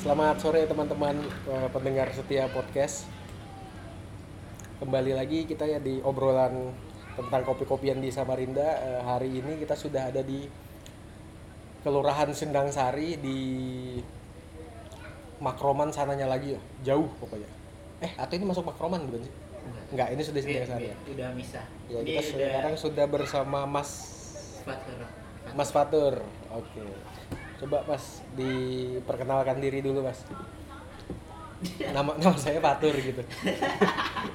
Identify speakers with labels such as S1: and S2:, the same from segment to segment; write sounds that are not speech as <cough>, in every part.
S1: Selamat sore teman-teman eh, pendengar setia podcast. Kembali lagi kita ya di obrolan tentang kopi-kopian di Samarinda. Eh, hari ini kita sudah ada di Kelurahan Sendang Sari di Makroman sananya lagi ya. Jauh pokoknya. Eh, atau ini masuk Makroman bukan sih? Enggak, ini sudah Sendang Sari.
S2: Udah- udah misah.
S1: Ya,
S2: Dia
S1: kita sekarang sudah bersama Mas
S2: Fat Hero.
S1: Mas Fatur, oke. Coba Mas diperkenalkan diri dulu Mas. Nama nama saya Fatur gitu.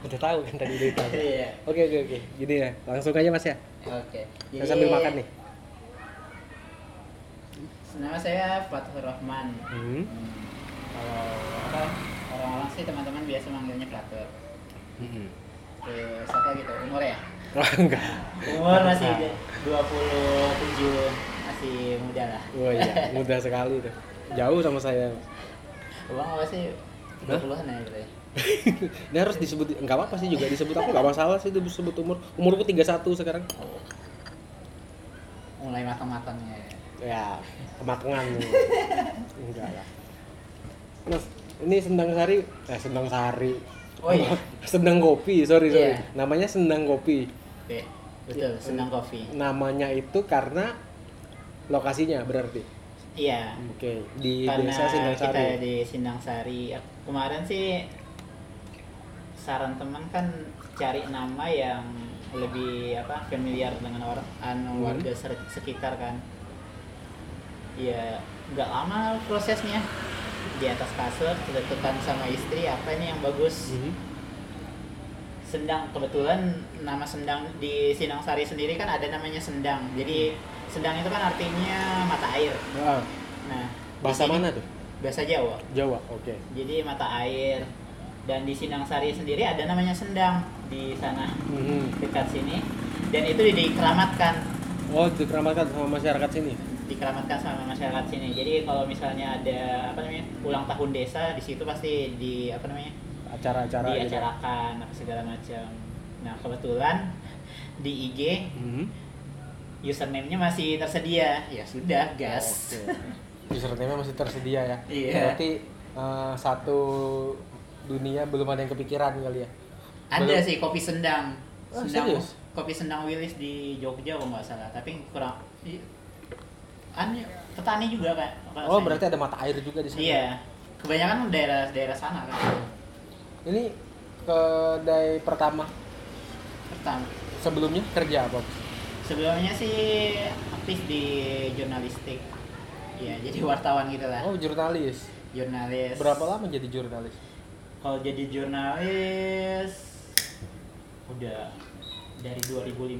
S1: Udah tahu kan tadi dari tadi.
S2: Iya.
S1: Oke oke oke, gini ya. Langsung aja Mas ya.
S2: Oke.
S1: Saya sambil makan nih.
S2: Nama saya Fathur Rahman.
S1: Hmm.
S2: Hmm. Kalau apa, orang-orang sih teman-teman biasa manggilnya Fathur. Terus apa gitu umur ya?
S1: Hmm. Oh, enggak.
S2: Umur masih 27 masih muda lah.
S1: Oh iya, mudah sekali tuh. Jauh sama saya.
S2: Abang apa sih? 30-an ya gitu ya.
S1: Ini harus disebut enggak apa-apa sih juga disebut aku enggak masalah sih disebut umur. Umurku 31 sekarang.
S2: Mulai matang-matangnya. ya.
S1: ya kematangan enggak lah mas ini sendang sari eh sendang sari
S2: Oh iya.
S1: <laughs> sendang kopi sorry sorry
S2: Iya.
S1: namanya sendang kopi
S2: Oke. Betul, senang kopi.
S1: namanya itu karena lokasinya berarti
S2: Iya.
S1: oke di
S2: karena
S1: desa sendang sari
S2: kita ya, di Sindang Sari kemarin sih saran teman kan cari nama yang lebih apa familiar dengan orang
S1: Hmm.
S2: anu warga ser- sekitar kan ya nggak lama prosesnya di atas kasur ditentukan sama istri apa nih yang bagus
S1: Mhm.
S2: Sendang kebetulan nama Sendang di Sindang Sari sendiri kan ada namanya Sendang jadi
S1: Hmm.
S2: Sendang itu kan artinya mata air
S1: Ah,
S2: nah
S1: bahasa
S2: di sini-
S1: mana tuh
S2: bahasa Jawa
S1: jawa oke
S2: jadi mata air dan di Sindang Sari sendiri ada namanya Sendang di sana
S1: Mhm.
S2: dekat sini dan itu di- dikeramatkan
S1: oh dikeramatkan sama masyarakat sini
S2: dikeramatkan sama masyarakat sini jadi kalau misalnya ada apa namanya ulang tahun desa di situ pasti di apa namanya
S1: acara-acara
S2: Iya,
S1: gitu.
S2: diacarakan apa segala macam nah kebetulan di IG
S1: Mhm.
S2: username-nya masih tersedia ya sudah gas
S1: Oh, Oke. Username masih tersedia ya.
S2: Iya.
S1: Berarti eh, satu dunia belum ada yang kepikiran kali ya.
S2: ada
S1: Belum-
S2: sih kopi sendang
S1: Ah,
S2: sendang
S1: serius?
S2: kopi sendang Wilis di Jogja kalau nggak salah tapi kurang i- anu petani juga kak
S1: Oh, berarti ada mata air juga di sana.
S2: iya kebanyakan daerah daerah sana kan
S1: Ini kedai pertama
S2: pertama
S1: sebelumnya kerja apa?
S2: Iya. sebelumnya sih aktif di jurnalistik ya <laughs> jadi wartawan gitu lah
S1: Oh, jurnalis.
S2: jurnalis
S1: Berapa lama jadi jurnalis?
S2: kalau jadi jurnalis udah dari 2015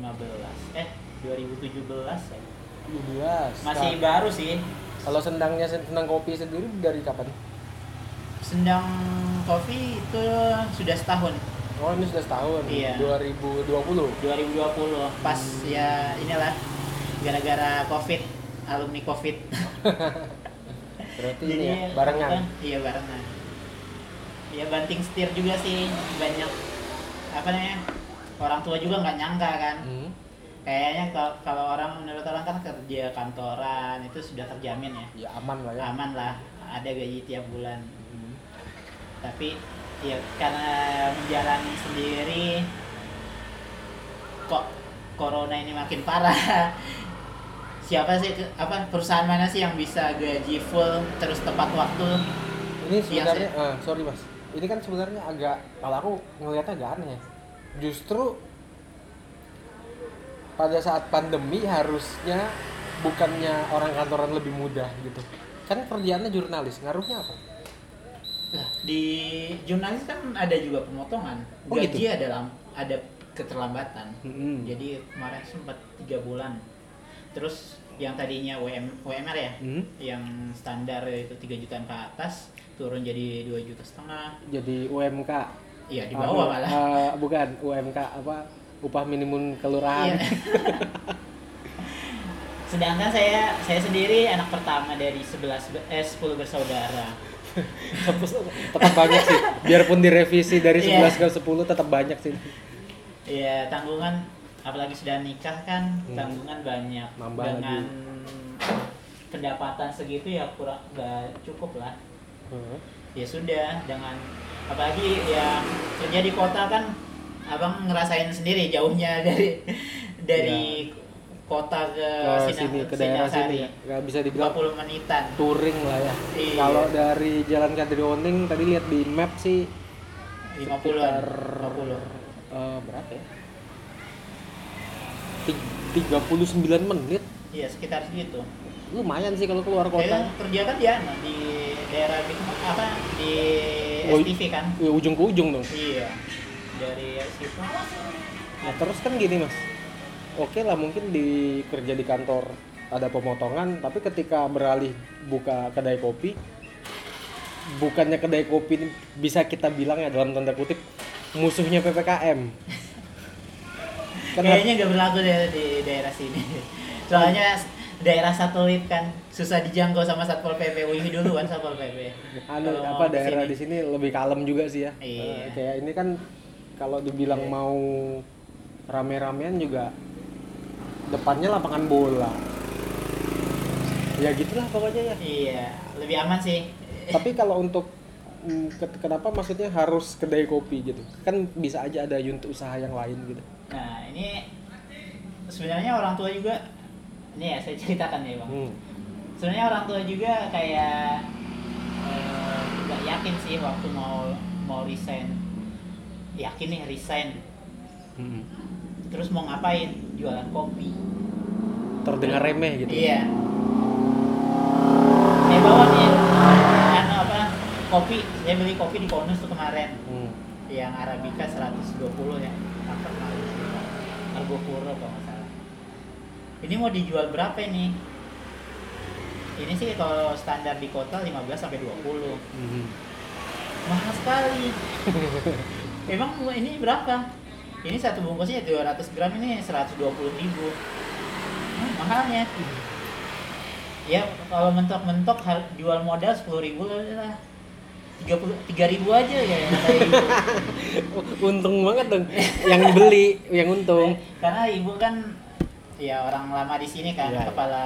S2: eh 2017 ya
S1: 12.
S2: masih
S1: Nah,
S2: baru sih
S1: kalau sendangnya sendang kopi sendiri dari kapan?
S2: Sendang Coffee itu sudah setahun
S1: Oh, ini sudah setahun.
S2: Iya.
S1: 2020.
S2: 2020 pas ya inilah gara-gara covid alumni covid
S1: Berarti ini ya, barengan.
S2: apa, iya barengan ya banting setir juga sih banyak apa namanya orang tua juga nggak nyangka kan
S1: Hmm.
S2: kayaknya kalau- kalau orang menurut orang kan kerja kantoran itu sudah terjamin ya
S1: Ya aman lah ya.
S2: aman lah ada gaji tiap bulan
S1: Hmm.
S2: tapi ya karena menjalani sendiri kok corona ini makin parah <laughs> siapa sih ke- apa perusahaan mana sih yang bisa gaji full terus tepat waktu
S1: ini sebenarnya
S2: Iya
S1: ah, sorry mas ini kan sebenarnya agak kalau aku ngelihatnya agak aneh ya. justru pada saat pandemi harusnya bukannya orang kantoran lebih mudah gitu kan kerjaannya jurnalis ngaruhnya apa
S2: Lah, di jurnalis kan ada juga pemotongan
S1: Oh, gitu?
S2: gaji ada lam- ada keterlambatan
S1: Mm-mm.
S2: jadi kemarin sempat tiga bulan terus yang tadinya WM, WMR ya
S1: Hmm.
S2: yang standar itu 3 jutaan ke atas turun jadi 2 juta setengah
S1: Jadi UMK.
S2: iya di
S1: Apa,
S2: bawah malah
S1: eh, bukan UMK apa upah minimum kelurahan.
S2: Iya. <laughs>
S1: <laughs>
S2: sedangkan saya saya sendiri anak pertama dari 11 be- eh 10 bersaudara
S1: tetap banyak sih. Biarpun direvisi dari
S2: Iya.
S1: 11 ke 10 tetap banyak sih.
S2: ya tanggungan apalagi sudah nikah kan
S1: Hmm.
S2: tanggungan banyak
S1: Nambah
S2: dengan pendapatan segitu ya kurang nggak cukup lah
S1: Hmm.
S2: ya sudah dengan apalagi ya kerja di kota kan abang ngerasain sendiri jauhnya <laughs> dari dari kota ke,
S1: Iya. Ke
S2: Sinar-
S1: sini ke daerah
S2: Sinasari.
S1: sini ya. Nggak bisa dibilang
S2: 20 menitan
S1: touring lah ya.
S2: Iya.
S1: Kalau dari Jalan Kadrioning tadi lihat di map sih
S2: 50
S1: sekitar
S2: 50
S1: eh, berapa ya? Ti- 39 menit.
S2: iya sekitar segitu
S1: Lumayan sih kalau keluar
S2: saya
S1: kota.
S2: kerja kan ya nah, di daerah gitu apa di
S1: Oh,
S2: STV kan
S1: Ya ujung ke ujung dong.
S2: iya dari situ
S1: Nah, terus kan gini mas, oke lah mungkin di kerja di kantor ada pemotongan, tapi ketika beralih buka kedai kopi, bukannya kedai kopi ini bisa kita bilang ya dalam tanda kutip musuhnya ppkm. Karena
S2: kayaknya nggak berlaku deh di daerah
S1: <laughs>
S2: sini soalnya s- daerah satelit kan susah dijangkau sama satpol pp Wih duluan satpol pp
S1: anu,
S2: Kalau
S1: apa
S2: mau
S1: daerah di
S2: kesini.
S1: sini lebih kalem juga sih ya. Eh,
S2: Iya.
S1: kayak ini kan kalau dibilang mau rame-ramean juga depannya lapangan bola. Ya gitulah
S2: <laughs>
S1: pokoknya ya.
S2: iya lebih aman sih
S1: tapi kalau untuk mm, ke- kenapa maksudnya harus kedai kopi gitu kan bisa aja ada unit usaha yang lain gitu
S2: nah ini sebenarnya orang tua juga ini ya saya ceritakan ya bang
S1: hmm.
S2: sebenarnya orang tua juga kayak eh, nggak yakin sih waktu mau mau resign yakin nih resign terus mau ngapain jualan kopi
S1: terdengar remeh gitu
S2: Iya. Saya bawa nih, anu apa, kopi. Saya beli kopi di Konus tuh kemarin.
S1: Hmm.
S2: Yang Arabica 120 ya. Apa Argo Puro kalau nggak salah. Ini mau dijual berapa nih? Ini sih kalau standar di kota 15 sampai 20.
S1: Hmm.
S2: Mahal sekali. Emang ini berapa? Ini satu bungkusnya 200 gram ini 120 ribu. Hmm, mahalnya. Ya kalau mentok-mentok har- jual modal 10 ribu lah. 30, 3 ribu aja ya. kata ibu.
S1: Oh, <laughs> untung banget dong yang beli yang
S2: Gitu.
S1: untung
S2: Karena ibu kan ya orang lama di sini kan
S1: Iya, iya.
S2: kepala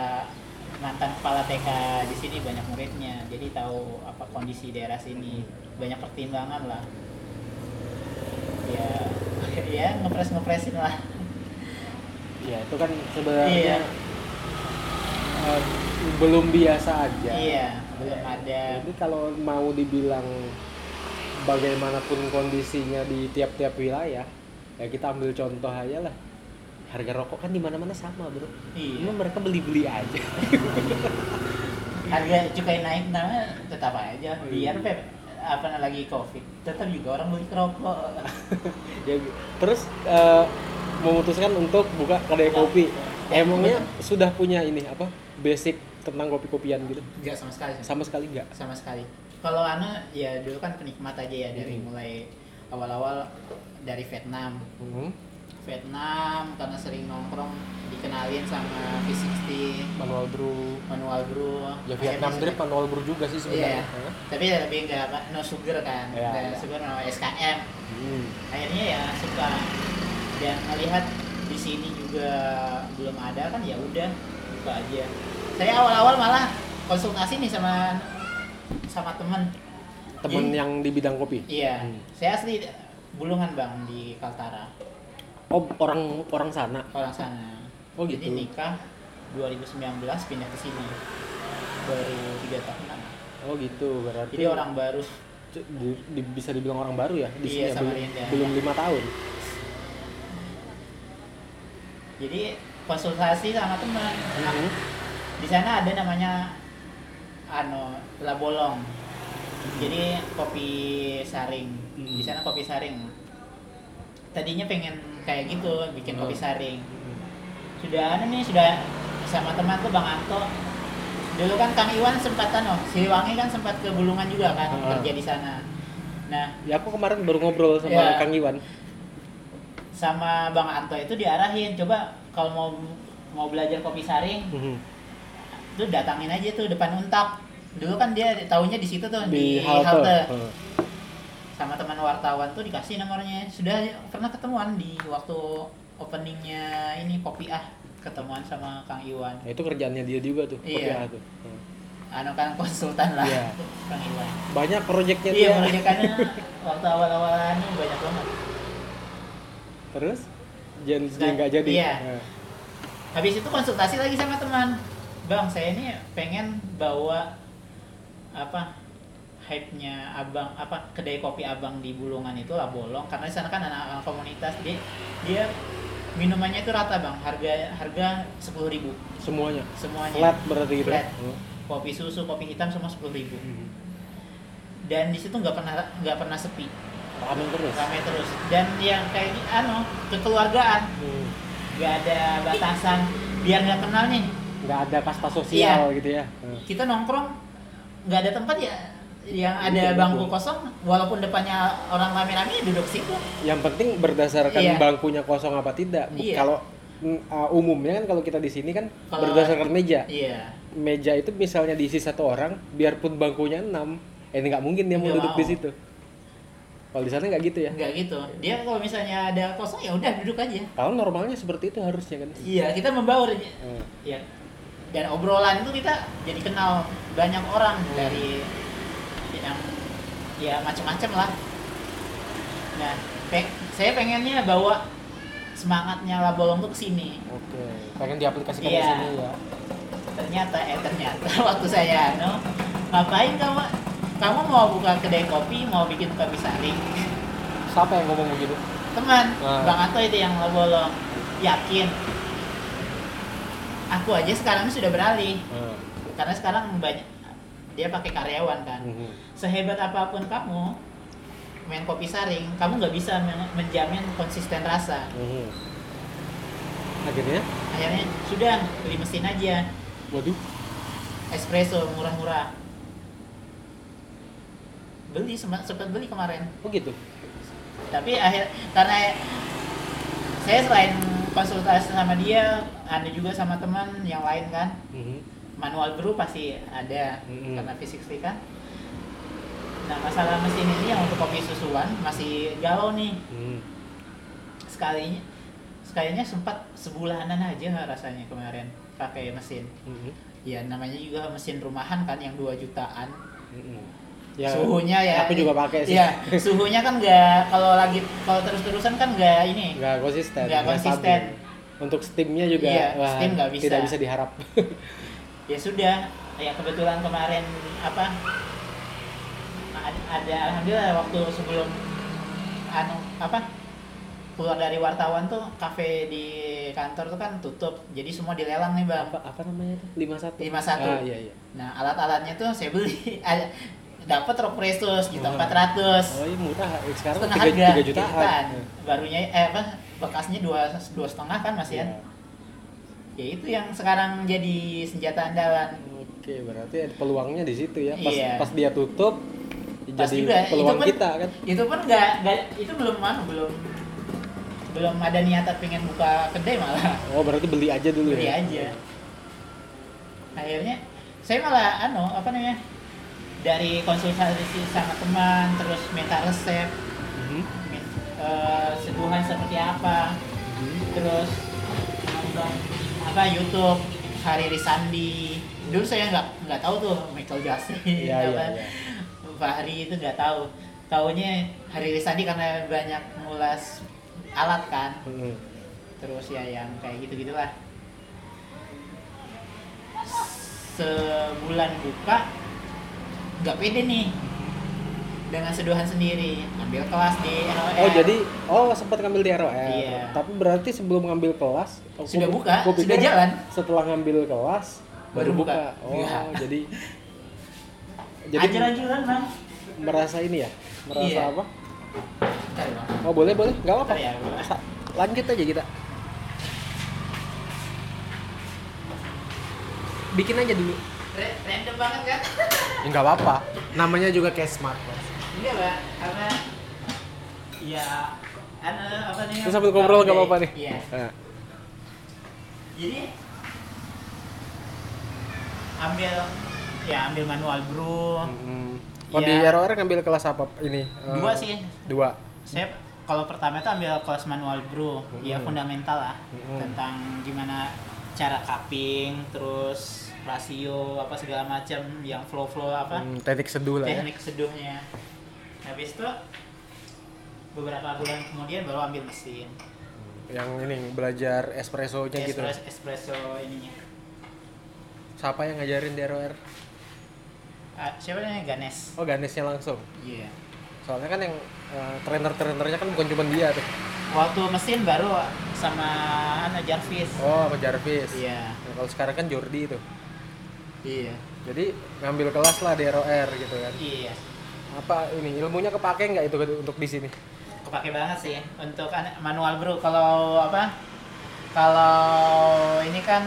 S2: mantan kepala TK di sini banyak muridnya jadi tahu apa kondisi daerah sini banyak pertimbangan lah <laughs> ya ya ngepres ngepresin lah
S1: ya itu kan sebenarnya
S2: Iya.
S1: eh, belum biasa aja
S2: iya belum ada Iya,
S1: Jadi kalau mau dibilang bagaimanapun kondisinya di tiap-tiap wilayah, ya kita ambil contoh aja lah. Harga rokok kan di mana-mana sama, Bro.
S2: iya
S1: Cuma mereka beli-beli aja. <laughs>
S2: harga cukai naik namanya tetap aja biar Pep, apa lagi covid tetap juga orang beli rokok
S1: Ya, terus eh, memutuskan untuk buka kedai kopi. Emangnya sudah punya ini apa? Basic tentang kopi-kopian gitu.
S2: enggak sama sekali sama,
S1: Sama sekali enggak?
S2: sama sekali kalau Ana ya dulu kan penikmat aja ya dari
S1: Hmm.
S2: mulai awal-awal dari Vietnam
S1: Hmm.
S2: Vietnam karena sering nongkrong dikenalin sama V60
S1: Manual brew.
S2: manual brew
S1: Ya Vietnam drip manual brew juga sih
S2: iya
S1: sebenarnya. Hah?
S2: tapi ya lebih enggak apa no sugar kan
S1: Iya,
S2: Nggak
S1: iya.
S2: sugar no SKM
S1: Hmm.
S2: akhirnya ya suka dan melihat di sini juga belum ada kan ya udah buka aja saya awal-awal malah konsultasi nih sama sama temen
S1: Temen
S2: Jadi-
S1: yang di bidang kopi.
S2: iya
S1: Hmm.
S2: saya asli bulungan bang di Kaltara
S1: Oh, orang orang sana.
S2: orang sana
S1: Oh,
S2: jadi
S1: gitu.
S2: nikah 2019 pindah ke sini baru tiga tahunan
S1: Oh gitu, berarti
S2: jadi orang baru
S1: C- di- di- bisa dibilang orang baru ya di sini ya,
S2: Iya,
S1: belum,
S2: Samarinda.
S1: belum lima tahun.
S2: jadi konsultasi sama teman
S1: Mhm.
S2: di sana ada namanya ano labolong jadi kopi saring
S1: Hmm.
S2: di sana kopi saring tadinya pengen kayak gitu bikin
S1: Hmm.
S2: kopi saring sudah ada anu nih sudah sama teman tuh Bang Anto. Dulu kan Kang Iwan sempat anu, Siliwangi kan sempat ke Bulungan juga kan
S1: Ah.
S2: kerja di sana. Nah,
S1: Ya aku kemarin baru ngobrol sama
S2: Iya.
S1: Kang Iwan.
S2: sama Bang Anto itu diarahin coba kalau mau mau belajar kopi saring
S1: Mhm.
S2: tuh datangin aja tuh depan untak dulu kan dia taunya di situ tuh
S1: Di
S2: di,
S1: halte.
S2: halte
S1: Heeh.
S2: sama teman wartawan tuh dikasih nomornya sudah pernah ketemuan di waktu openingnya ini kopi ah ketemuan sama Kang Iwan
S1: Nah, itu kerjaannya dia juga tuh.
S2: Iya.
S1: PPA tuh. Hmm. Heeh.
S2: anu kan konsultan lah
S1: Iya.
S2: Kang Iwan
S1: Banyak proyeknya
S2: iya
S1: dia.
S2: proyekannya <laughs> waktu awal-awal ini banyak banget
S1: Terus jangan
S2: Nah,
S1: dia nggak jadi.
S2: iya.
S1: Nah,
S2: habis itu konsultasi lagi sama teman bang saya ini pengen bawa apa hype nya abang apa kedai kopi abang di Bulungan itu lah bolong karena di sana kan anak-anak komunitas dia dia minumannya itu rata bang harga harga sepuluh ribu
S1: Semuanya.
S2: semuanya
S1: Flat berarti gitu.
S2: Flat.
S1: Heeh.
S2: kopi susu kopi hitam semua sepuluh ribu
S1: Mhm.
S2: dan di situ nggak pernah nggak pernah sepi
S1: Ramen terus.
S2: ramai terus dan yang kayak gi- anu kekeluargaan
S1: Hmm.
S2: nggak ada batasan biar nggak kenal nih
S1: Nggak ada kasta sosial
S2: Iya.
S1: gitu ya. Heeh.
S2: kita nongkrong nggak ada tempat ya yang ada
S1: Betul,
S2: bangku
S1: betul.
S2: kosong walaupun depannya orang rame-rame ya duduk situ
S1: Yang penting berdasarkan
S2: Iya.
S1: bangkunya kosong apa tidak. Bu-
S2: Iya.
S1: Kalau mm, uh, umumnya kan kalau kita di sini kan
S2: Kalau-
S1: berdasarkan meja.
S2: iya
S1: Meja itu misalnya diisi satu orang, biarpun bangkunya enam, eh, ini nggak mungkin dia mau
S2: Nggak
S1: duduk
S2: mau.
S1: di situ. Kalau di sana nggak gitu ya.
S2: nggak gitu dia kalau misalnya ada kosong ya udah duduk aja
S1: Kalau normalnya seperti itu harusnya kan.
S2: iya kita membaur aja.
S1: Hmm.
S2: ya dan obrolan itu kita jadi kenal banyak orang dari yang ya macam-macam lah nah pe- saya pengennya bawa semangatnya lah bolong tuh kesini
S1: Oke, pengen diaplikasikan
S2: Iya.
S1: di sini ya.
S2: ternyata eh ternyata <laughs> waktu saya no ngapain kamu kamu mau buka kedai kopi mau bikin kopi saring
S1: Siapa yang ngomong begitu?
S2: teman
S1: Ah.
S2: bang Anto itu yang bolong yakin aku aja sekarang sudah beralih karena sekarang banyak dia pakai karyawan kan
S1: Mhm.
S2: sehebat apapun kamu main kopi saring kamu nggak bisa men- menjamin konsisten rasa
S1: Mhm. Akhirnya,
S2: akhirnya sudah beli mesin aja
S1: waduh,
S2: espresso murah-murah beli sempat beli kemarin
S1: oh gitu.
S2: tapi akhir karena saya selain konsultasi sama dia ada juga sama teman yang lain kan
S1: Mhm.
S2: manual brew pasti ada
S1: Mm-mm.
S2: karena fisik kan nah masalah mesin ini yang untuk kopi susuan masih galau nih
S1: Mhm.
S2: sekalinya sekalinya sempat sebulanan aja nggak rasanya kemarin pakai mesin
S1: Mhm.
S2: ya namanya juga mesin rumahan kan yang 2 jutaan
S1: Mhm. Ya,
S2: suhunya ya
S1: Aku juga pakai sih.
S2: Iya, suhunya kan nggak kalau lagi kalau terus-terusan kan nggak ini
S1: Nggak konsisten.
S2: Nggak
S1: stabil.
S2: konsisten.
S1: Untuk steamnya juga
S2: Iya,
S1: wah,
S2: steam nggak bisa. Iya.
S1: tidak bisa diharap.
S2: ya sudah ya kebetulan kemarin apa ada- ada alhamdulillah waktu sebelum anu apa keluar dari wartawan tuh kafe di kantor tuh kan tutup jadi semua dilelang nih bang
S1: <laughs> apa, apa namanya itu? 51.
S2: 51.
S1: Ah, iya, iya.
S2: nah alat-alatnya tuh saya beli <laughs> Ada- dapat ropressus gitu
S1: Wah. Oh,
S2: 400
S1: iya murah. Eh, Sekarang
S2: setengah
S1: 3,
S2: harga
S1: jutaan.
S2: jutaan.
S1: Iya.
S2: barunya eh apa bekasnya dua dua setengah kan masih ya
S1: Iya.
S2: ya itu yang sekarang jadi senjata andalan
S1: Oke, berarti ada peluangnya di situ ya. Pas,
S2: Iya.
S1: pas dia tutup
S2: Pas
S1: jadi
S2: juga, itu
S1: peluang
S2: pun-
S1: kita kan.
S2: itu pun nggak nggak- itu belum anu, belum belum ada niatan pengen buka kedai malah <laughs>
S1: Oh, berarti beli aja dulu
S2: beli
S1: ya.
S2: aja akhirnya saya malah anu apa namanya dari konsultasi sama teman terus minta resep
S1: Mhm.
S2: min- eh, seduhan seperti apa
S1: Mhm.
S2: terus nonton apa YouTube Hari Risandi dulu saya nggak nggak tahu tuh Michael Jackson
S1: Iya, iya,
S2: apa
S1: iya.
S2: Fahri itu nggak tahu. Taunya Hari Risandi karena banyak ngulas alat kan.
S1: Mhm.
S2: Terus ya yang kayak gitu-gitulah. Sebulan buka nggak pede nih dengan seduhan sendiri ambil kelas di NOR.
S1: Oh jadi, oh sempat ngambil di ROL.
S2: Iya.
S1: Tapi berarti sebelum ngambil kelas, aku-
S2: Sudah buka,
S1: aku
S2: sudah jalan.
S1: Setelah ngambil kelas, baru,
S2: Baru
S1: buka.
S2: buka.
S1: Oh
S2: Iya. <laughs>
S1: jadi, jadi
S2: ajaran-ajaran kan, bang.
S1: merasa ini ya, merasa
S2: Iya.
S1: apa?
S2: Bentar, Bang.
S1: Oh boleh boleh, nggak apa-apa.
S2: Bentar ya, Bang.
S1: Lanjut aja kita. bikin aja dulu.
S2: Re- random banget <laughs> kan
S1: Ya nggak apa-apa. Namanya juga kayak smart. Mas.
S2: enggak pak Iya, karena ya anu, apa nih
S1: Terus sambil ngobrol nggak apa-apa nih.
S2: iya
S1: Nah,
S2: jadi ambil ya ambil manual bro
S1: mm. Oh di
S2: Iya.
S1: ROR ngambil kelas apa ini? Eh,
S2: Dua sih.
S1: Dua.
S2: saya kalau pertama itu ambil kelas manual bro
S1: Mhm.
S2: ya fundamental lah
S1: Mhm.
S2: tentang gimana cara cupping terus rasio apa segala macam yang flow flow apa
S1: Hmm, teknik seduh lah ya.
S2: teknik seduhnya habis itu beberapa bulan kemudian baru ambil mesin
S1: Yang ini belajar espressonya gitu.
S2: espresso, espresso ininya
S1: Siapa yang ngajarin di ROR?
S2: Ah, siapa namanya Ganes
S1: Oh Ganesnya langsung.
S2: iya
S1: Soalnya kan yang eh, trainer-trainernya kan bukan cuma dia tuh.
S2: waktu mesin baru sama Ana Jarvis
S1: Oh sama Jarvis.
S2: iya
S1: Nah, kalau sekarang kan Jordi itu.
S2: iya
S1: Jadi ngambil kelas lah di ROR gitu kan.
S2: iya
S1: Apa ini ilmunya kepake nggak itu untuk di
S2: <laughs>
S1: sini?
S2: kepake banget sih untuk an- manual bro kalau apa kalau ini kan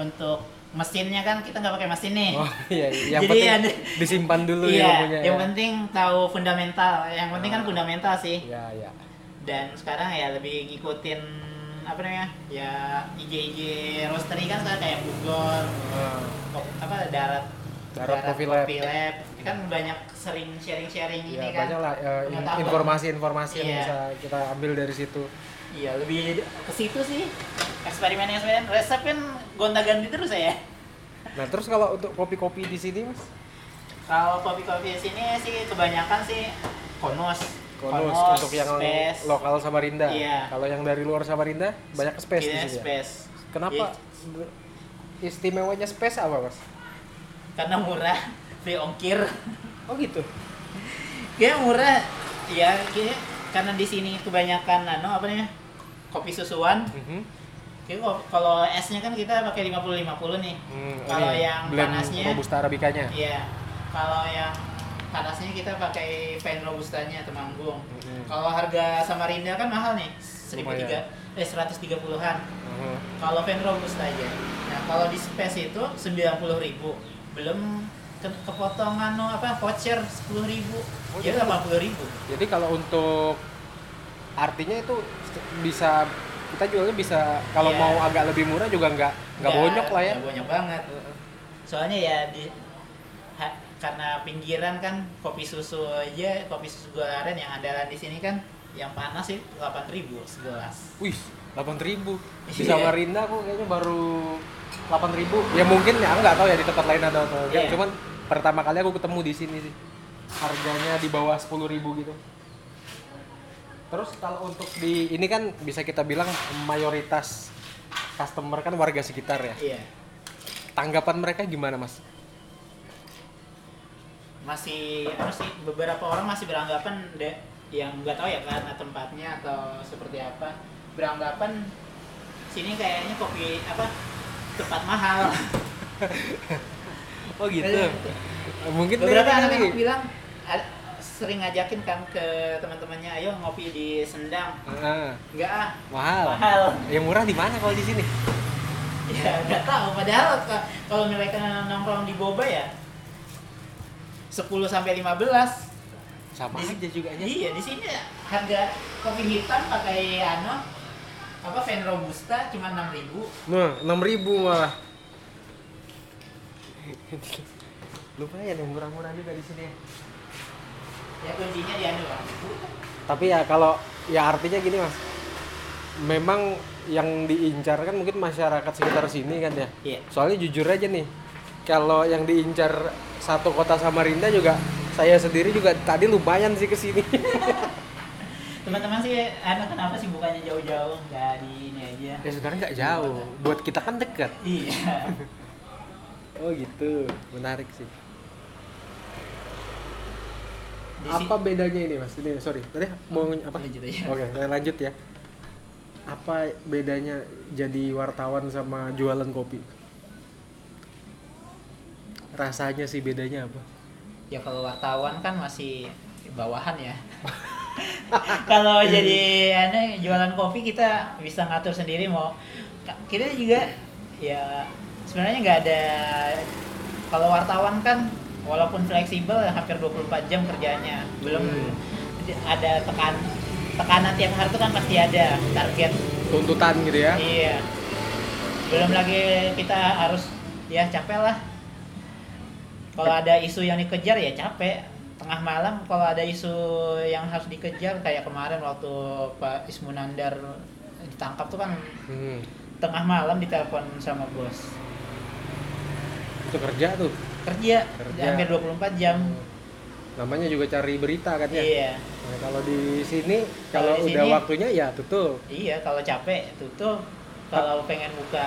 S2: untuk mesinnya kan kita nggak pakai mesin nih
S1: Oh iya, iya. yang
S2: Jadi
S1: penting
S2: ada-
S1: disimpan dulu ya
S2: iya
S1: ilmunya.
S2: yang
S1: ya. Ah.
S2: penting tahu fundamental yang penting kan fundamental sih
S1: Iya, iya.
S2: dan sekarang ya lebih ngikutin apa namanya ya IG IG roastery kan sekarang kayak Bogor
S1: Ah,
S2: Ko- apa darat
S1: Darat Coffee Lab.
S2: kan banyak sering sharing sharing
S1: iya,
S2: ini kan
S1: banyak lah eh, in-
S2: pengetahuan.
S1: informasi-informasi yang
S2: Iya.
S1: bisa kita ambil dari situ.
S2: Iya lebih ke situ sih eksperimen eksperimen resep kan gonta ganti terus ya.
S1: Nah, terus kalau untuk kopi-kopi di sini, Mas?
S2: Kalau kopi kopi sini sih kebanyakan sih konos.
S1: Konus untuk yang
S2: space,
S1: lokal Samarinda.
S2: Iya.
S1: Kalau yang dari luar Samarinda banyak space di
S2: iya,
S1: sini. ya?
S2: space.
S1: Kenapa
S2: Iya,
S1: istimewanya space apa, Mas?
S2: karena murah, free ongkir.
S1: Oh gitu.
S2: Kayak murah. Ya, kayak karena di sini kebanyakan anu apa namanya? Kopi susuan.
S1: Mhm.
S2: Kayak kok- kalau esnya kan kita pakai 50 50 nih.
S1: Hmm,
S2: Kalau
S1: ini,
S2: yang
S1: blend
S2: panasnya-
S1: robusta arabikanya.
S2: Iya. Kalau yang panasnya kita pakai pen robustanya temanggung.
S1: Mhm.
S2: Kalau harga Samarinda kan mahal nih,
S1: Lumayan.
S2: 1003 eh 130-an.
S1: Mhm.
S2: Kalau pen robusta aja. Nah, kalau di space itu 90.000. Belum ke- kepotongan no, apa voucher 10.000.
S1: Oh,
S2: Jadi
S1: gitu.
S2: 80.000.
S1: Jadi kalau untuk artinya itu bisa kita jualnya bisa kalau
S2: Iya.
S1: mau agak lebih murah juga nggak nggak bonyok lah ya.
S2: nggak bonyok banget. Soalnya ya di ha- karena pinggiran kan kopi susu aja, kopi susu golaren yang andalan di sini kan yang panas sih 8.000 segelas.
S1: Wih, 8000. Di
S2: Iya.
S1: Samarinda aku kayaknya baru 8000. Ya mungkin ya aku nggak tahu ya di tempat lain ada atau enggak.
S2: Iya.
S1: Cuman pertama kali aku ketemu di sini sih. Harganya di bawah 10.000 gitu. Terus kalau untuk di ini kan bisa kita bilang mayoritas customer kan warga sekitar ya.
S2: Iya.
S1: Tanggapan mereka gimana, Mas?
S2: Masih apa sih beberapa orang masih beranggapan de, yang nggak tahu ya karena tempatnya atau seperti apa. Beranggapan sini kayaknya kopi apa tempat mahal. Iya.
S1: Oh gitu. ya, Mungkin
S2: beberapa
S1: ini
S2: anak
S1: kali.
S2: anak bilang "Ad- sering ngajakin kan ke teman-temannya ayo ngopi di sendang
S1: Ah,
S2: enggak ah
S1: mahal.
S2: mahal
S1: Yang murah di mana kalau di sini?
S2: ya nggak tahu padahal ke- kalau mereka nongkrong di boba ya 10 sampai 15
S1: Sama
S2: Di-
S1: aja juga aja.
S2: iya di sini harga kopi hitam pakai ano apa Fen Robusta cuma 6000
S1: Nah, 6000 malah. Lumayan yang murah-murah juga di sini. ya.
S2: ya kuncinya di anu Bang.
S1: Tapi ya kalau ya artinya gini, Mas. Memang yang diincar kan mungkin masyarakat sekitar sini kan ya.
S2: iya
S1: Soalnya jujur aja nih, kalau yang diincar satu kota Samarinda juga saya sendiri juga tadi lumayan sih ke sini.
S2: teman-teman sih anu kenapa sih bukannya jauh-jauh nggak di ini aja
S1: <laughs> ya sebenarnya nggak jauh. Buat kita kan dekat.
S2: iya
S1: Oh gitu, menarik sih.
S2: Di si-
S1: Apa bedanya ini mas? Ini sorry, tadi mau nge- apa?
S2: Lanjut aja.
S1: Oke, saya lanjut ya. Apa bedanya jadi wartawan sama jualan kopi? Rasanya sih bedanya apa?
S2: ya kalau wartawan kan masih bawahan ya kalau jadi anu, aneh jualan kopi kita bisa ngatur sendiri mau kita juga ya sebenarnya nggak ada kalau wartawan kan walaupun fleksibel hampir 24 jam kerjanya belum
S1: Hmm.
S2: ada tekan tekanan tiap hari itu kan pasti ada target
S1: tuntutan gitu ya
S2: iya belum lagi kita harus ya capek lah kalau ada isu yang dikejar ya capek tengah malam kalau ada isu yang harus dikejar kayak kemarin waktu Pak Ismunandar ditangkap tuh kan
S1: hmm.
S2: tengah malam ditelepon sama bos
S1: itu kerja tuh
S2: kerja,
S1: Kerja.
S2: hampir 24 jam
S1: namanya juga cari berita kan ya
S2: iya
S1: Nah, kalau di sini
S2: Kalau
S1: kalau
S2: di
S1: udah
S2: sini-
S1: waktunya ya tutup
S2: iya kalau capek tutup kalau pengen buka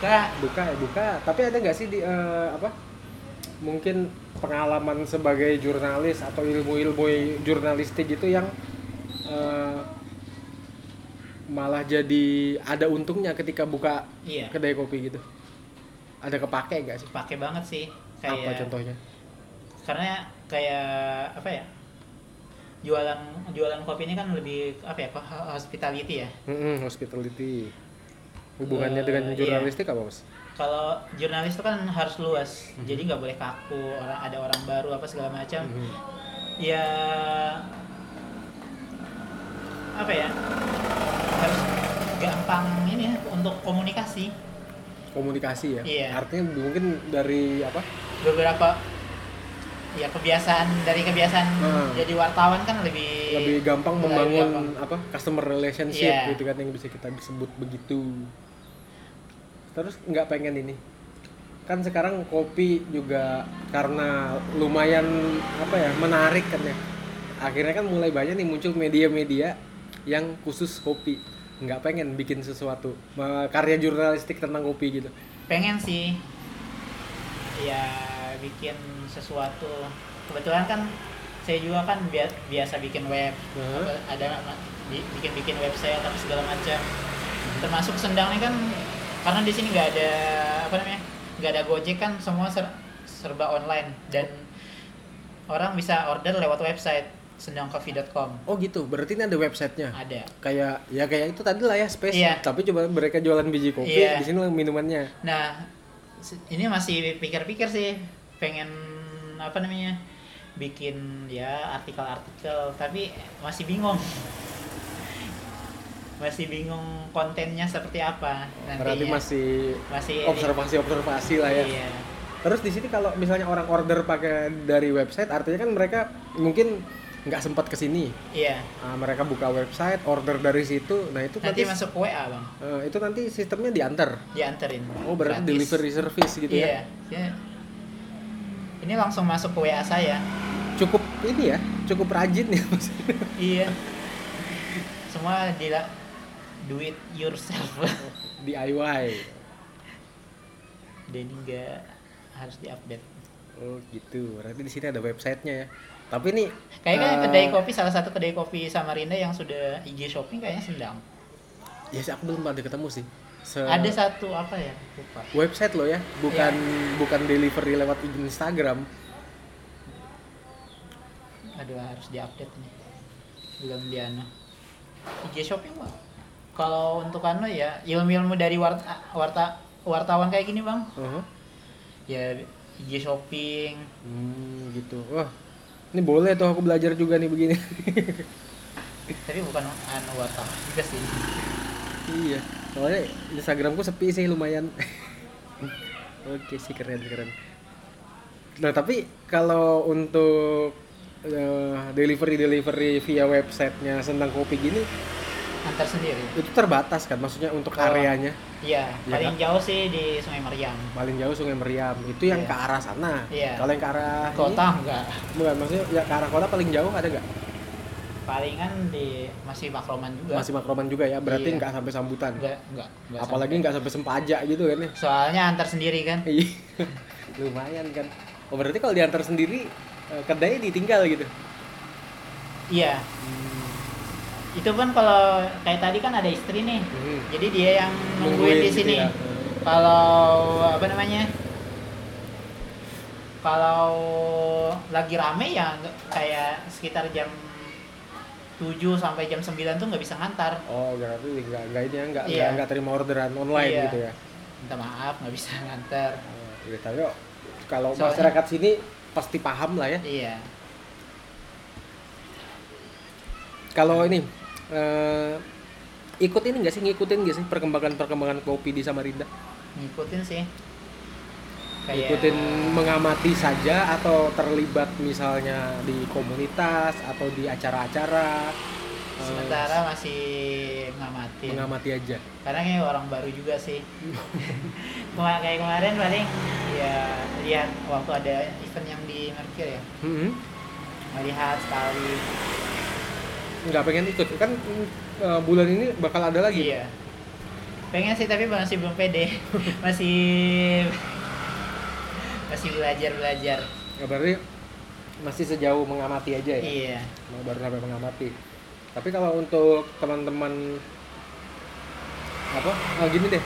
S2: buka
S1: buka ya buka tapi ada nggak sih di eh, apa mungkin pengalaman sebagai jurnalis atau ilmu-ilmu jurnalistik gitu yang eh, malah jadi ada untungnya ketika buka
S2: iya
S1: kedai kopi gitu ada kepake nggak sih
S2: pakai banget sih
S1: apa
S2: kayak
S1: contohnya
S2: karena kayak apa ya jualan jualan kopi ini kan lebih apa ya ho- hospitality ya
S1: Mm-mm, hospitality hubungannya
S2: Eh,
S1: dengan
S2: iya.
S1: jurnalistik apa mas
S2: kalau jurnalis itu kan harus luas jadi nggak boleh kaku orang ada orang baru apa segala macam
S1: Mhm.
S2: ya apa ya harus gampang ini ya untuk komunikasi
S1: komunikasi ya
S2: Iya.
S1: artinya mungkin dari apa
S2: beberapa ya kebiasaan dari kebiasaan
S1: Hmm.
S2: jadi wartawan kan lebih
S1: lebih gampang
S2: lebih
S1: membangun
S2: gampang.
S1: apa customer relationship
S2: Iya.
S1: gitu kan yang bisa kita sebut begitu terus nggak pengen ini kan sekarang kopi juga karena lumayan apa ya menarik kan ya akhirnya kan mulai banyak nih muncul media-media yang khusus kopi nggak pengen bikin sesuatu me- karya jurnalistik tentang kopi gitu
S2: pengen sih ya bikin sesuatu kebetulan kan saya juga kan bia- biasa bikin web
S1: Heeh.
S2: Apa- ada bikin bikin website atau segala macam termasuk sendang ini kan karena di sini nggak ada apa namanya nggak ada gojek kan semua ser- serba online dan orang bisa order lewat website sendangcoffee.com
S1: oh gitu berarti ini ada websitenya
S2: ada
S1: kayak ya kayak itu tadi lah ya space
S2: Iya.
S1: tapi coba mereka jualan biji kopi
S2: Iya.
S1: di sini minumannya
S2: Nah, se- ini masih pikir-pikir sih, pengen apa namanya, bikin ya artikel-artikel, tapi masih bingung, masih bingung kontennya seperti apa nantinya.
S1: Berarti masih
S2: masih
S1: observasi-observasi lah ya.
S2: Iya,
S1: Terus di sini kalau misalnya orang order pakai dari website, artinya kan mereka mungkin nggak sempat ke sini.
S2: iya.
S1: Ah, mereka buka website, order dari situ. Nah itu
S2: Nanti
S1: nanti,
S2: masuk ke WA bang,
S1: eh, itu nanti sistemnya diantar.
S2: dianterin.
S1: Oh berarti
S2: gratis.
S1: delivery service gitu
S2: iya.
S1: ya?
S2: iya. Ini langsung masuk ke WA saya.
S1: <laughs> Cukup ini ya, cukup rajin ya maksudnya.
S2: iya. Semua dila do it yourself.
S1: DIY.
S2: Denny nggak harus diupdate.
S1: Oh gitu. Berarti di sini ada websitenya ya. Tapi ini
S2: Kayaknya kan
S1: eh,
S2: kedai kopi salah satu kedai kopi Samarinda yang sudah IG shopping kayaknya sedang.
S1: Ya sih, aku belum ada ketemu sih. Se-
S2: Ada satu apa ya? Lupa.
S1: website lo ya bukan bukan delivery lewat Instagram
S2: Aduh harus diupdate nih. Belum Diana. IG shopping bang. Kalau untuk Ano ya ilmu-ilmu dari warta, warta- wartawan kayak gini bang.
S1: Heeh.
S2: Ya IG shopping.
S1: hmm, gitu wah ini boleh tuh aku belajar juga nih begini <laughs>
S2: Tapi bukan Ano wartawan juga sih.
S1: iya soalnya Instagramku sepi sih <laughs> lumayan oke sih keren keren nah tapi kalau untuk delivery delivery via websitenya sendang kopi gini
S2: Antar sendiri.
S1: itu terbatas kan maksudnya untuk
S2: Oh.
S1: areanya
S2: Iya.
S1: Iya,
S2: Paling jauh sih di Sungai Mariam.
S1: paling jauh Sungai Meriam itu yang
S2: Iya.
S1: ke arah sana
S2: Iya.
S1: kalau yang ke arah ini-
S2: Kota enggak.
S1: bukan maksudnya ya ke arah kota paling jauh ada nggak
S2: palingan di masih makroman juga
S1: masih makroman juga ya berarti
S2: Iya.
S1: nggak sampai sambutan
S2: enggak enggak, enggak
S1: apalagi
S2: sampai.
S1: nggak sampai sempaja gitu kan ya
S2: soalnya antar sendiri kan
S1: Iya. <laughs> lumayan kan oh berarti kalau diantar sendiri eh, kedai ditinggal gitu
S2: iya itu pun kalau kayak tadi kan ada istri nih
S1: Hmm.
S2: jadi dia yang
S1: Nungguin
S2: nungguin di
S1: gitu
S2: sini
S1: ya.
S2: kalau apa namanya kalau lagi rame ya nggak- kayak sekitar jam 7 sampai jam 9 tuh nggak bisa ngantar
S1: oh berarti nggak nggak ini ya nggak
S2: Iya.
S1: nggak- nggak terima orderan online
S2: Iya.
S1: gitu ya
S2: minta maaf nggak bisa <laughs> nganter
S1: Ya, tapi kalau
S2: Soalnya-
S1: masyarakat sini pasti paham lah ya.
S2: iya
S1: Kalau ini eh, ikut ini nggak sih ngikutin nggak sih perkembangan-perkembangan kopi di Samarinda?
S2: ngikutin sih kayak
S1: Ngikutin mengamati saja atau terlibat misalnya di komunitas atau di acara-acara eh,
S2: sementara masih ngamatin
S1: mengamati aja.
S2: karena kayak ya orang baru juga sih Kema- kayak kemarin paling ya lihat waktu ada event yang di Merkur ya
S1: Mm-mm.
S2: melihat sekali
S1: Nggak pengen ikut kan mm, eh, bulan ini bakal ada lagi.
S2: iya pengen sih tapi masih belum pede masih masih belajar belajar
S1: Ya, berarti masih sejauh mengamati aja ya.
S2: iya
S1: Nah, baru sampai mengamati. Tapi kalau untuk teman-teman apa? eh, gini deh,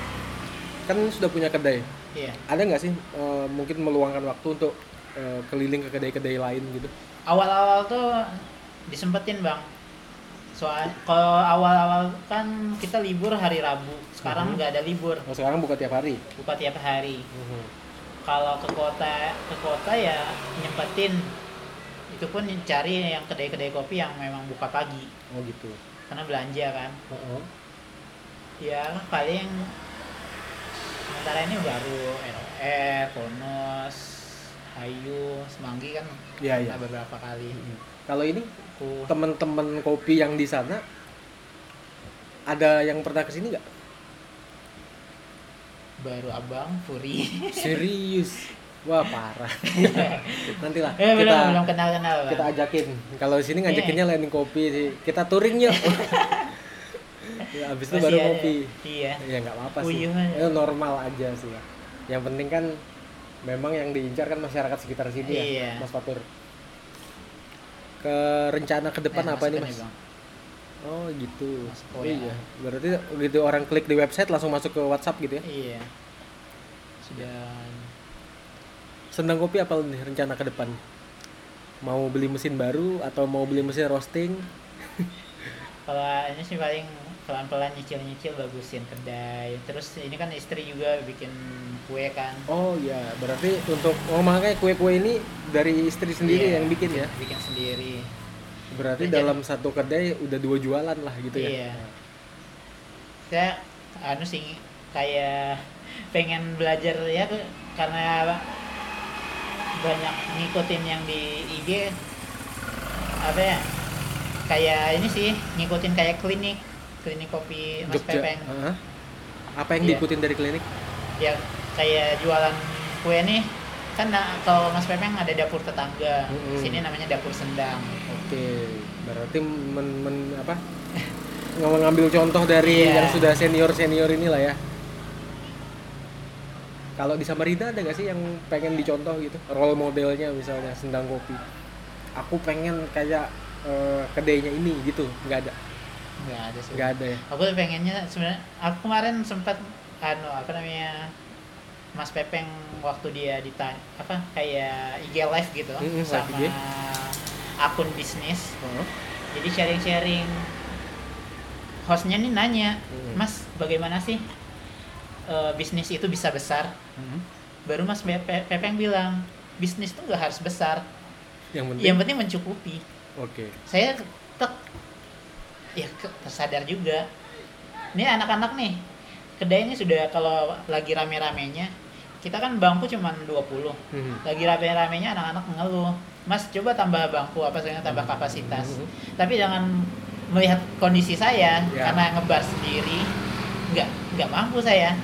S1: kan sudah punya kedai.
S2: iya
S1: Ada nggak sih eh, mungkin meluangkan waktu untuk eh, keliling ke kedai-kedai lain gitu?
S2: awal-awal tuh disempetin bang soal kalau awal-awal kan kita libur hari Rabu sekarang
S1: Mhm.
S2: nggak ada libur
S1: Kalau sekarang buka tiap hari.
S2: buka tiap hari kalau ke kota ke kota ya nyempetin itu pun cari yang kedai-kedai kopi yang memang buka pagi
S1: Oh gitu.
S2: karena belanja kan ya paling sementara ini baru ROR, Konos, Hayu, Semanggi kan
S1: Iya iya.
S2: pernah beberapa kali
S1: Kalau ini
S2: aku
S1: teman-teman kopi yang di sana ada yang pernah kesini nggak?
S2: baru abang Furi
S1: Serius? Wah parah. Nantilah
S2: <laughs> eh
S1: kita
S2: belum belum kenal kenal
S1: kita ajakin kalau di sini ngajakinnya landing kopi sih kita touring yuk ya, abis itu baru kopi
S2: iya
S1: ya nggak apa-apa sih
S2: Uyuh aja.
S1: itu normal aja sih ya. yang penting kan memang yang diincar kan masyarakat sekitar sini
S2: Iya.
S1: ya mas Fatur ke rencana ke depan
S2: Eh,
S1: apa ini
S2: masukin
S1: mas
S2: nih, Bang.
S1: oh gitu
S2: Masuk ke WA.
S1: iya berarti gitu orang klik di website langsung masuk ke WhatsApp gitu ya
S2: iya sudah
S1: sendang kopi apa nih rencana ke depan mau beli mesin baru atau mau beli mesin roasting
S2: kalau ini sih paling pelan-pelan nyicil-nyicil bagusin kedai terus ini kan istri juga bikin kue kan
S1: Oh ya, berarti untuk oh makanya kue-kue ini dari istri sendiri
S2: Iya.
S1: yang bikin ya.
S2: bikin sendiri
S1: Berarti
S2: Iya.
S1: dalam satu kedai udah dua jualan lah gitu ya.
S2: Iya. saya anu sih kayak pengen belajar ya ke- karena banyak ngikutin yang di IG apa ya kayak ini sih ngikutin kayak klinik klinik kopi Mas
S1: Jogja.
S2: Pepeng
S1: Heeh. Apa yang
S2: Iya.
S1: diikutin dari klinik?
S2: ya kayak jualan kue nih kan na- kalau Mas Pepeng ada dapur tetangga
S1: Mm-mm.
S2: sini namanya dapur sendang
S1: Oke, berarti men, men- apa? Nggak ngambil contoh dari
S2: Iya.
S1: yang sudah senior-senior inilah ya. Kalau di Samarinda ada nggak sih yang pengen dicontoh gitu? Role modelnya misalnya sendang kopi. Aku pengen kayak eh, kedainya ini gitu, nggak ada,
S2: nggak ada sih
S1: nggak ada ya.
S2: aku tuh pengennya sebenarnya aku kemarin sempat anu apa namanya Mas Pepeng waktu dia ditanya apa kayak IG live gitu
S1: Mm-mm, live
S2: sama
S1: IG.
S2: akun bisnis
S1: Heeh.
S2: jadi sharing-sharing hostnya nih nanya
S1: Mm-mm.
S2: Mas bagaimana sih eh, bisnis itu bisa besar
S1: Mm-hmm.
S2: baru Mas Pe- Pe- Pepeng bilang bisnis tuh gak harus besar
S1: Yang penting.
S2: yang penting mencukupi
S1: Oke.
S2: saya tek ya ke- tersadar juga ini anak-anak nih kedai ini sudah kalau lagi rame-ramenya kita kan bangku cuma 20
S1: Mm-hmm.
S2: lagi rame-ramenya anak-anak ngeluh mas coba tambah bangku apa saya tambah kapasitas
S1: Mm-hmm.
S2: tapi jangan melihat kondisi saya
S1: Ya.
S2: karena ngebar sendiri nggak nggak mampu saya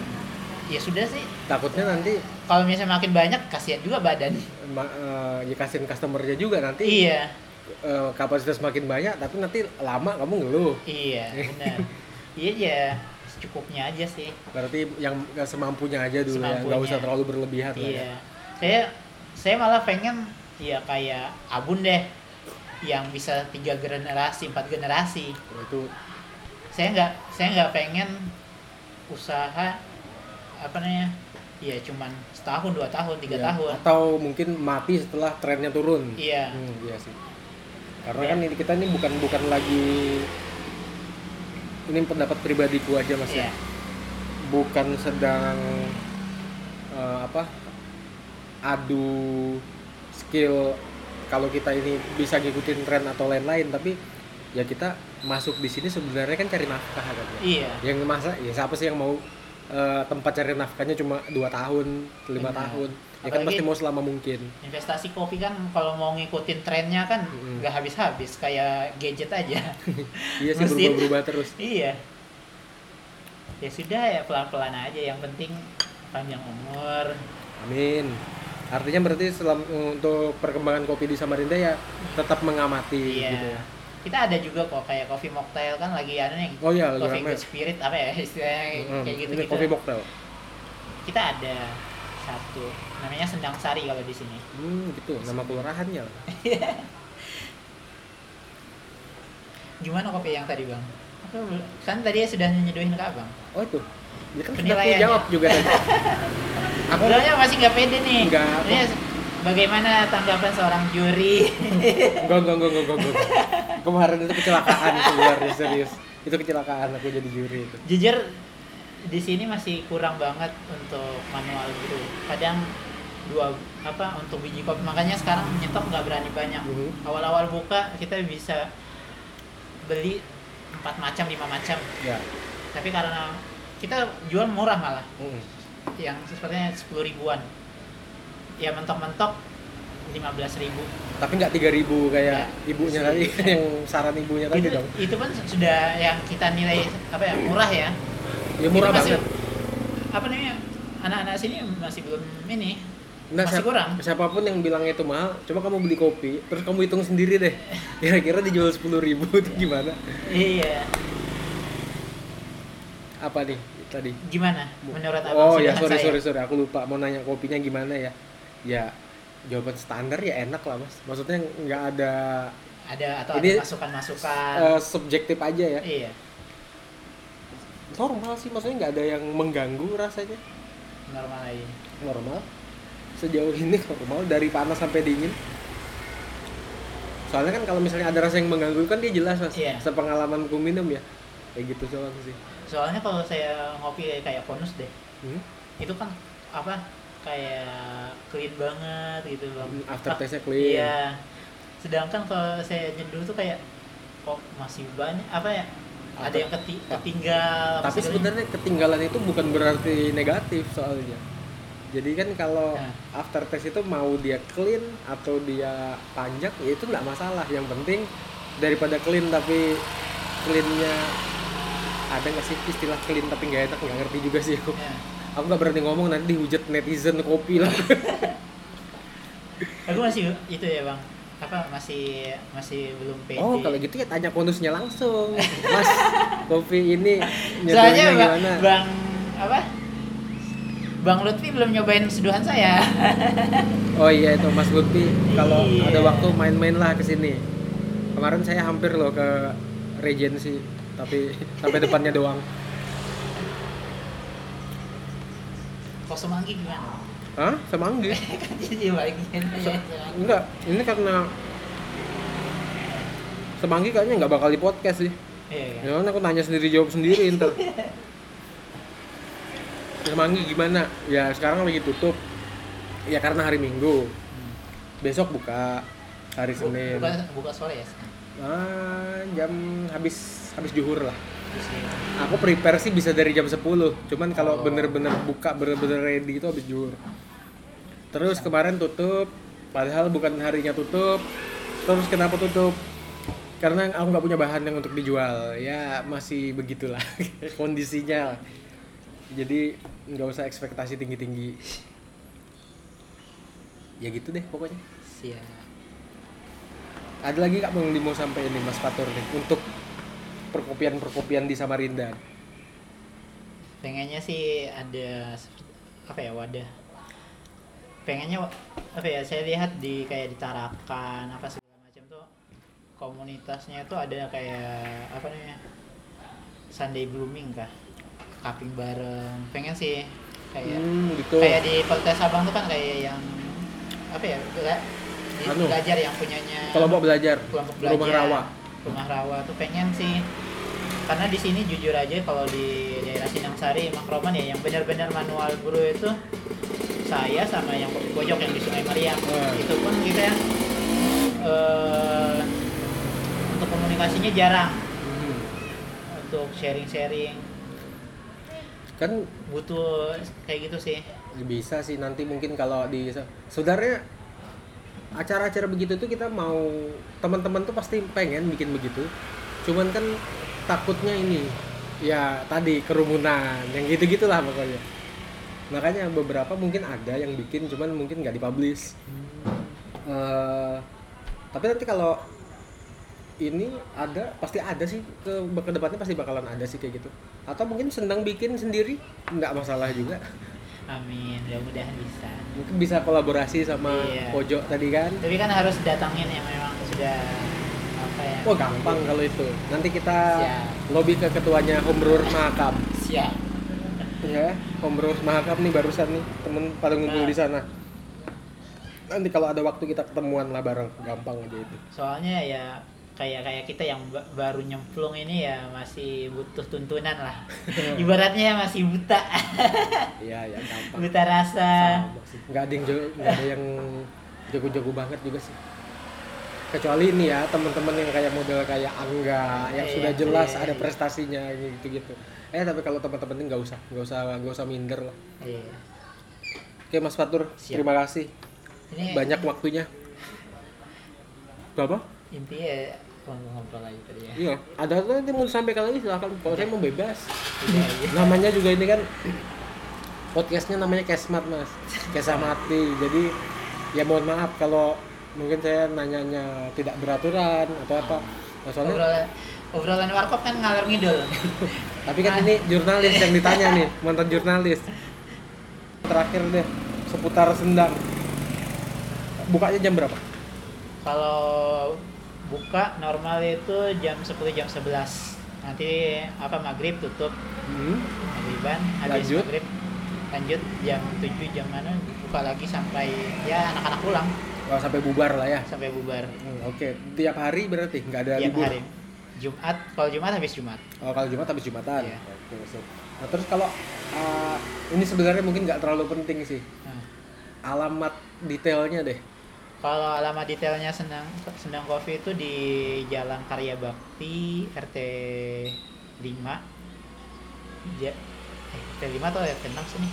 S2: ya sudah sih
S1: Takutnya nanti
S2: kalau misalnya makin banyak kasihan juga badan
S1: ma- eh, ya kasihin customernya juga nanti
S2: iya
S1: eh, kapasitas makin banyak tapi nanti lama kamu ngeluh.
S2: iya benar iya ya secukupnya aja sih
S1: Berarti yang nggak semampunya aja dulu ya, nggak
S2: Semampunya.
S1: usah terlalu berlebihan lah ya.
S2: Iya. Saya saya malah pengen ya kayak Abun deh yang bisa tiga generasi, empat generasi.
S1: Itu
S2: Saya nggak saya nggak pengen usaha apa namanya? Ya cuman setahun, dua tahun, tiga
S1: ya,
S2: tahun.
S1: Atau mungkin mati setelah trennya turun.
S2: Iya.
S1: Hmm, iya sih. Karena
S2: Ya.
S1: kan ini kita ini bukan bukan lagi ini pendapat pribadiku aja mas
S2: Iya.
S1: ya. bukan sedang eh, apa adu skill kalau kita ini bisa ngikutin tren atau lain-lain tapi ya kita masuk di sini sebenarnya kan cari nafkah kan ya.
S2: iya
S1: yang masa ya siapa sih yang mau eh, tempat cari nafkahnya cuma dua tahun lima
S2: Benar.
S1: tahun ya kan
S2: Iya. Apalagi-
S1: pasti mau selama mungkin
S2: investasi kopi kan kalau mau ngikutin trennya kan
S1: Mm.
S2: nggak habis-habis kayak gadget aja
S1: iya sih
S2: Mesti.
S1: berubah-berubah terus
S2: iya ya sudah ya pelan-pelan aja yang penting panjang umur
S1: amin artinya berarti selam- untuk perkembangan kopi di Samarinda ya tetap mengamati
S2: iya
S1: gitu ya
S2: kita ada juga kok kayak coffee mocktail kan lagi ada nih
S1: oh iya lagi
S2: coffee
S1: rame
S2: good spirit apa ya istilahnya
S1: Mm,
S2: kayak gitu
S1: ini
S2: gitu
S1: kopi mocktail
S2: kita ada satu namanya sendang sari kalau di sini
S1: hmm gitu nama kelurahannya lah.
S2: gimana kopi yang tadi bang Aku bel- kan tadi sudah nyeduhin ke abang
S1: oh itu dia kan sudah
S2: Penilaiannya.
S1: jawab juga
S2: <laughs>
S1: tadi. aku
S2: Sebenarnya masih nggak pede nih
S1: Nggak,
S2: Ini bagaimana tanggapan seorang juri
S1: enggak enggak enggak enggak enggak kemarin itu kecelakaan sebenarnya serius itu kecelakaan aku jadi juri itu
S2: jujur di sini masih kurang banget untuk manual gitu kadang dua apa untuk biji kopi makanya sekarang menyetok nggak berani banyak
S1: Mhm.
S2: awal-awal buka kita bisa beli empat macam lima macam
S1: ya
S2: tapi karena kita jual murah malah
S1: Mm.
S2: yang sepertinya sepuluh ribuan ya mentok-mentok lima belas ribu
S1: tapi nggak tiga ribu kayak
S2: Ya.
S1: ibunya tadi yang saran ibunya tadi
S2: itu,
S1: dong
S2: itu pun sudah yang kita nilai apa ya murah ya
S1: ya murah
S2: Itu masih,
S1: banget
S2: apa namanya anak-anak sini masih belum ini
S1: Nah,
S2: masih
S1: siap-
S2: kurang
S1: siapapun yang bilang itu mahal, coba kamu beli kopi, terus kamu hitung sendiri deh. <laughs> Kira-kira dijual sepuluh ribu itu gimana?
S2: iya
S1: Apa nih tadi?
S2: gimana menurut abang
S1: Oh ya sorry
S2: sudahan saya
S1: sorry sorry, aku lupa mau nanya kopinya gimana ya? Ya jawaban standar ya enak lah mas. Maksudnya nggak ada
S2: ada atau
S1: Ini-
S2: ada masukan-masukan
S1: eh, subjektif aja ya.
S2: iya
S1: Normal sih, maksudnya nggak ada yang mengganggu rasanya.
S2: normal aja
S1: Normal. Sejauh ini normal dari panas sampai dingin. Soalnya kan kalau misalnya ada rasa yang mengganggu kan dia jelas mas.
S2: Iya.
S1: Sepengalamanku minum ya, kayak gitu doang sih.
S2: soalnya kalau saya ngopi kayak bonus deh
S1: Hmm?
S2: itu kan apa kayak clean banget gitu bang
S1: Hmm, aftertaste-nya
S2: Ah,
S1: clean.
S2: iya sedangkan kalau saya nyeduh tuh kayak kok masih banyak apa ya ada
S1: After-
S2: yang keti- ketinggal apa
S1: Tapi
S2: segala-
S1: sebenarnya ketinggalan itu bukan berarti negatif soalnya. Jadi kan kalau
S2: Nah.
S1: after test itu mau dia clean atau dia panjang ya itu nggak masalah. Yang penting daripada clean tapi cleannya ada nggak sih istilah clean tapi nggak enak nggak ngerti juga sih aku.
S2: Ya.
S1: Aku nggak berani ngomong nanti dihujat netizen kopi lah.
S2: aku masih itu ya bang apa masih masih belum pede
S1: oh kalau gitu ya tanya bonusnya langsung. Mas kopi ini nyeduhnya
S2: soalnya bang,
S1: gimana?
S2: bang apa bang Lutfi belum nyobain seduhan saya
S1: Oh iya itu Mas Lutfi kalau
S2: Iya.
S1: ada waktu main-mainlah ke sini. Kemarin saya hampir loh ke Regency tapi sampai depannya doang.
S2: kok semanggi gimana <laughs>
S1: Hah? Semanggi?
S2: jadi bagian ya semanggi.
S1: Enggak, ini karena Semanggi kayaknya nggak bakal di podcast sih.
S2: Iya, iya.
S1: Ya kan aku nanya sendiri jawab sendiri ntar. Semanggi gimana? Ya sekarang lagi tutup. Ya karena hari Minggu. Besok buka hari
S2: Bu-
S1: Senin.
S2: buka buka sore ya Senin?
S1: Ah, jam habis habis juhur lah.
S2: Terus ya.
S1: Aku prepare sih bisa dari jam 10. Cuman kalau
S2: Oh.
S1: bener-bener buka bener-bener ready itu habis juhur. Terus kemarin tutup, padahal bukan harinya tutup. Terus kenapa tutup? Karena aku nggak punya bahan yang untuk dijual. Ya masih begitulah <laughs> kondisinya. Jadi nggak usah ekspektasi tinggi-tinggi. Ya gitu deh pokoknya.
S2: siap
S1: Ada lagi nggak mau yang mau sampai ini Mas Fatur nih untuk perkopian-perkopian di Samarinda.
S2: pengennya sih ada seperti- apa ya wadah pengennya wa- apa ya saya lihat di kayak di Tarakan apa segala macam tuh komunitasnya tuh ada kayak apa namanya Sunday blooming kah kaping bareng pengen sih kayak
S1: Hmm, gitu.
S2: kayak di Polres Abang tuh kan kayak yang apa ya bela- di-
S1: Anu.
S2: belajar yang punyanya
S1: Kalau mau belajar,
S2: kelompok
S1: rumah
S2: belajar
S1: rawa.
S2: rumah rawa tuh pengen sih karena di sini jujur aja kalau di daerah Sinangsari Makroman ya yang benar-benar manual brew itu saya sama yang kopi pojok yang di Sungai Mariam
S1: Hmm.
S2: itu pun kita yang eh, untuk komunikasinya jarang
S1: Hmm.
S2: untuk sharing-sharing
S1: kan
S2: butuh kayak gitu sih
S1: bisa sih nanti mungkin kalau di saudaranya acara-acara begitu tuh kita mau teman-teman tuh pasti pengen bikin begitu cuman kan takutnya ini ya tadi kerumunan yang gitu gitulah pokoknya makanya beberapa mungkin ada yang bikin cuman mungkin nggak dipublish Eh, tapi nanti kalau ini ada pasti ada sih ke, ke depannya pasti bakalan ada sih kayak gitu atau mungkin senang bikin sendiri nggak masalah juga
S2: amin mudah-mudahan bisa
S1: mungkin bisa kolaborasi sama
S2: Iya.
S1: pojok tadi kan
S2: tapi kan harus datangin yang memang sudah apa ya
S1: wah gampang kalau itu nanti kita
S2: Siap.
S1: lobby ke ketuanya Hombrewers Mahakam
S2: siap
S1: ya Hombrewers Mahakam nih barusan nih temen pada ngumpul
S2: Nah.
S1: di sana nanti kalau ada waktu kita ketemuan lah bareng gampang aja itu
S2: soalnya ya kayak kayak kita yang ba- baru nyemplung ini ya masih butuh tuntunan lah
S1: <laughs>
S2: ibaratnya ya masih buta <laughs>
S1: iya ya gampang
S2: buta rasa
S1: Sama sih. nggak ada yang jago, nggak ada yang jago-jago banget juga sih kecuali ini ya teman-teman yang kayak model kayak Angga yang
S2: Iya,
S1: sudah jelas
S2: iya,
S1: ada
S2: iya.
S1: prestasinya gitu gitu eh tapi kalau teman-teman ini nggak usah nggak usah nggak usah minder lah
S2: Iya.
S1: oke Mas Fatur
S2: Siap. Iya,
S1: terima kasih
S2: ini
S1: banyak waktunya
S2: Iya.
S1: berapa
S2: intinya ya, ngobrol lagi tadi
S1: <laughs>
S2: ya
S1: iya ada tuh nanti mau disampaikan lagi silakan kalau saya mau bebas
S2: Iya, iya.
S1: namanya juga ini kan podcastnya namanya Kesmat mas Kesamati jadi ya mohon maaf kalau mungkin saya nanyanya tidak beraturan atau apa Nah, soalnya
S2: obrolan obrolan warkop kan ngalor ngidul
S1: tapi kan ini jurnalis yang ditanya nih mantan jurnalis terakhir deh seputar sendang bukanya jam berapa
S2: kalau buka normal itu jam 10 jam 11 nanti apa maghrib tutup Hmm? maghriban habis
S1: Lanjut.
S2: maghrib lanjut jam 7 jam mana buka lagi sampai ya anak-anak pulang
S1: kalau sampai bubar lah ya
S2: sampai bubar
S1: Hmm, oke tiap hari berarti nggak ada
S2: tiap
S1: libur
S2: hari Jumat kalau Jumat habis Jumat
S1: Oh, kalau Jumat habis Jumatan.
S2: Iya.
S1: Oke, sip. Nah, terus kalau uh, ini sebenarnya mungkin nggak terlalu penting sih.
S2: Nah,
S1: Alamat detailnya deh.
S2: kalau alamat detailnya senang Sendang Coffee itu di Jalan Karya Bakti RT 5 ja, eh, RT 5 atau RT 6 sini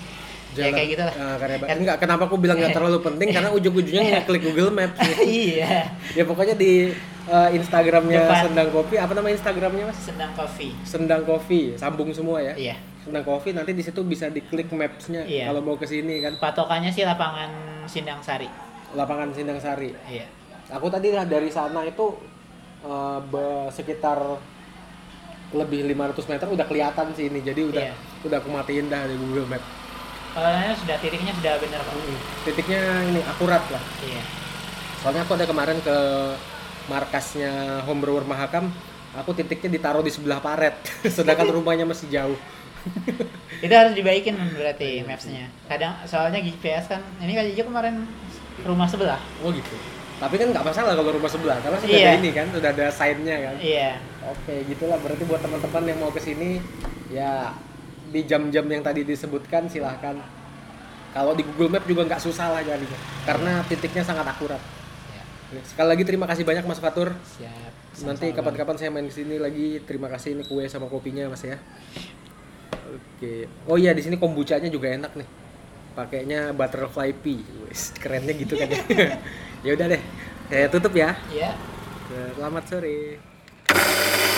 S2: ya kayak gitu lah
S1: Uh, karya Ba-
S2: Kan-
S1: Enggak, kenapa aku bilang
S2: <laughs>
S1: nggak terlalu penting karena ujung-ujungnya ngeklik Google Maps. gitu.
S2: iya
S1: ya pokoknya di uh, Instagramnya
S2: Depan.
S1: Sendang Kopi, apa nama Instagramnya mas?
S2: Sendang Coffee
S1: Sendang Kopi, sambung semua ya.
S2: iya
S1: Sendang Kopi nanti di situ bisa diklik mapsnya
S2: Iya.
S1: kalau mau ke sini kan
S2: patokannya sih lapangan Sindang Sari
S1: lapangan Sindang Sari.
S2: iya
S1: aku tadi lah dari sana itu eh, be- sekitar lebih 500 meter udah kelihatan sih ini jadi udah
S2: Iya.
S1: udah aku matiin dah di Google Map
S2: kalau nanya sudah titiknya sudah benar kok
S1: titiknya ini akurat lah
S2: iya
S1: soalnya aku ada kemarin ke markasnya Homebrewer Mahakam aku titiknya ditaruh di sebelah paret <laughs>
S2: <laughs>
S1: sedangkan rumahnya masih jauh
S2: itu harus dibaikin berarti mapsnya kadang soalnya GPS kan ini kan aja kemarin rumah sebelah
S1: oh gitu tapi kan nggak masalah kalau rumah sebelah karena sudah
S2: Iya.
S1: ada ini kan sudah ada sign-nya kan
S2: iya
S1: Oke, gitulah berarti buat teman-teman yang mau kesini ya di jam-jam yang tadi disebutkan silahkan. Kalau di Google Map juga nggak susah lah jadinya, karena titiknya sangat akurat. Sekali lagi terima kasih banyak Mas Fatur.
S2: siap
S1: Nanti kapan-kapan saya main kesini lagi. Terima kasih ini kue sama kopinya Mas ya. Oke. Oh iya di sini kombuchanya juga enak nih. Pakainya butterfly pea. Wes, kerennya gitu kan ya. ya udah deh. Saya tutup ya.
S2: iya
S1: Selamat sore.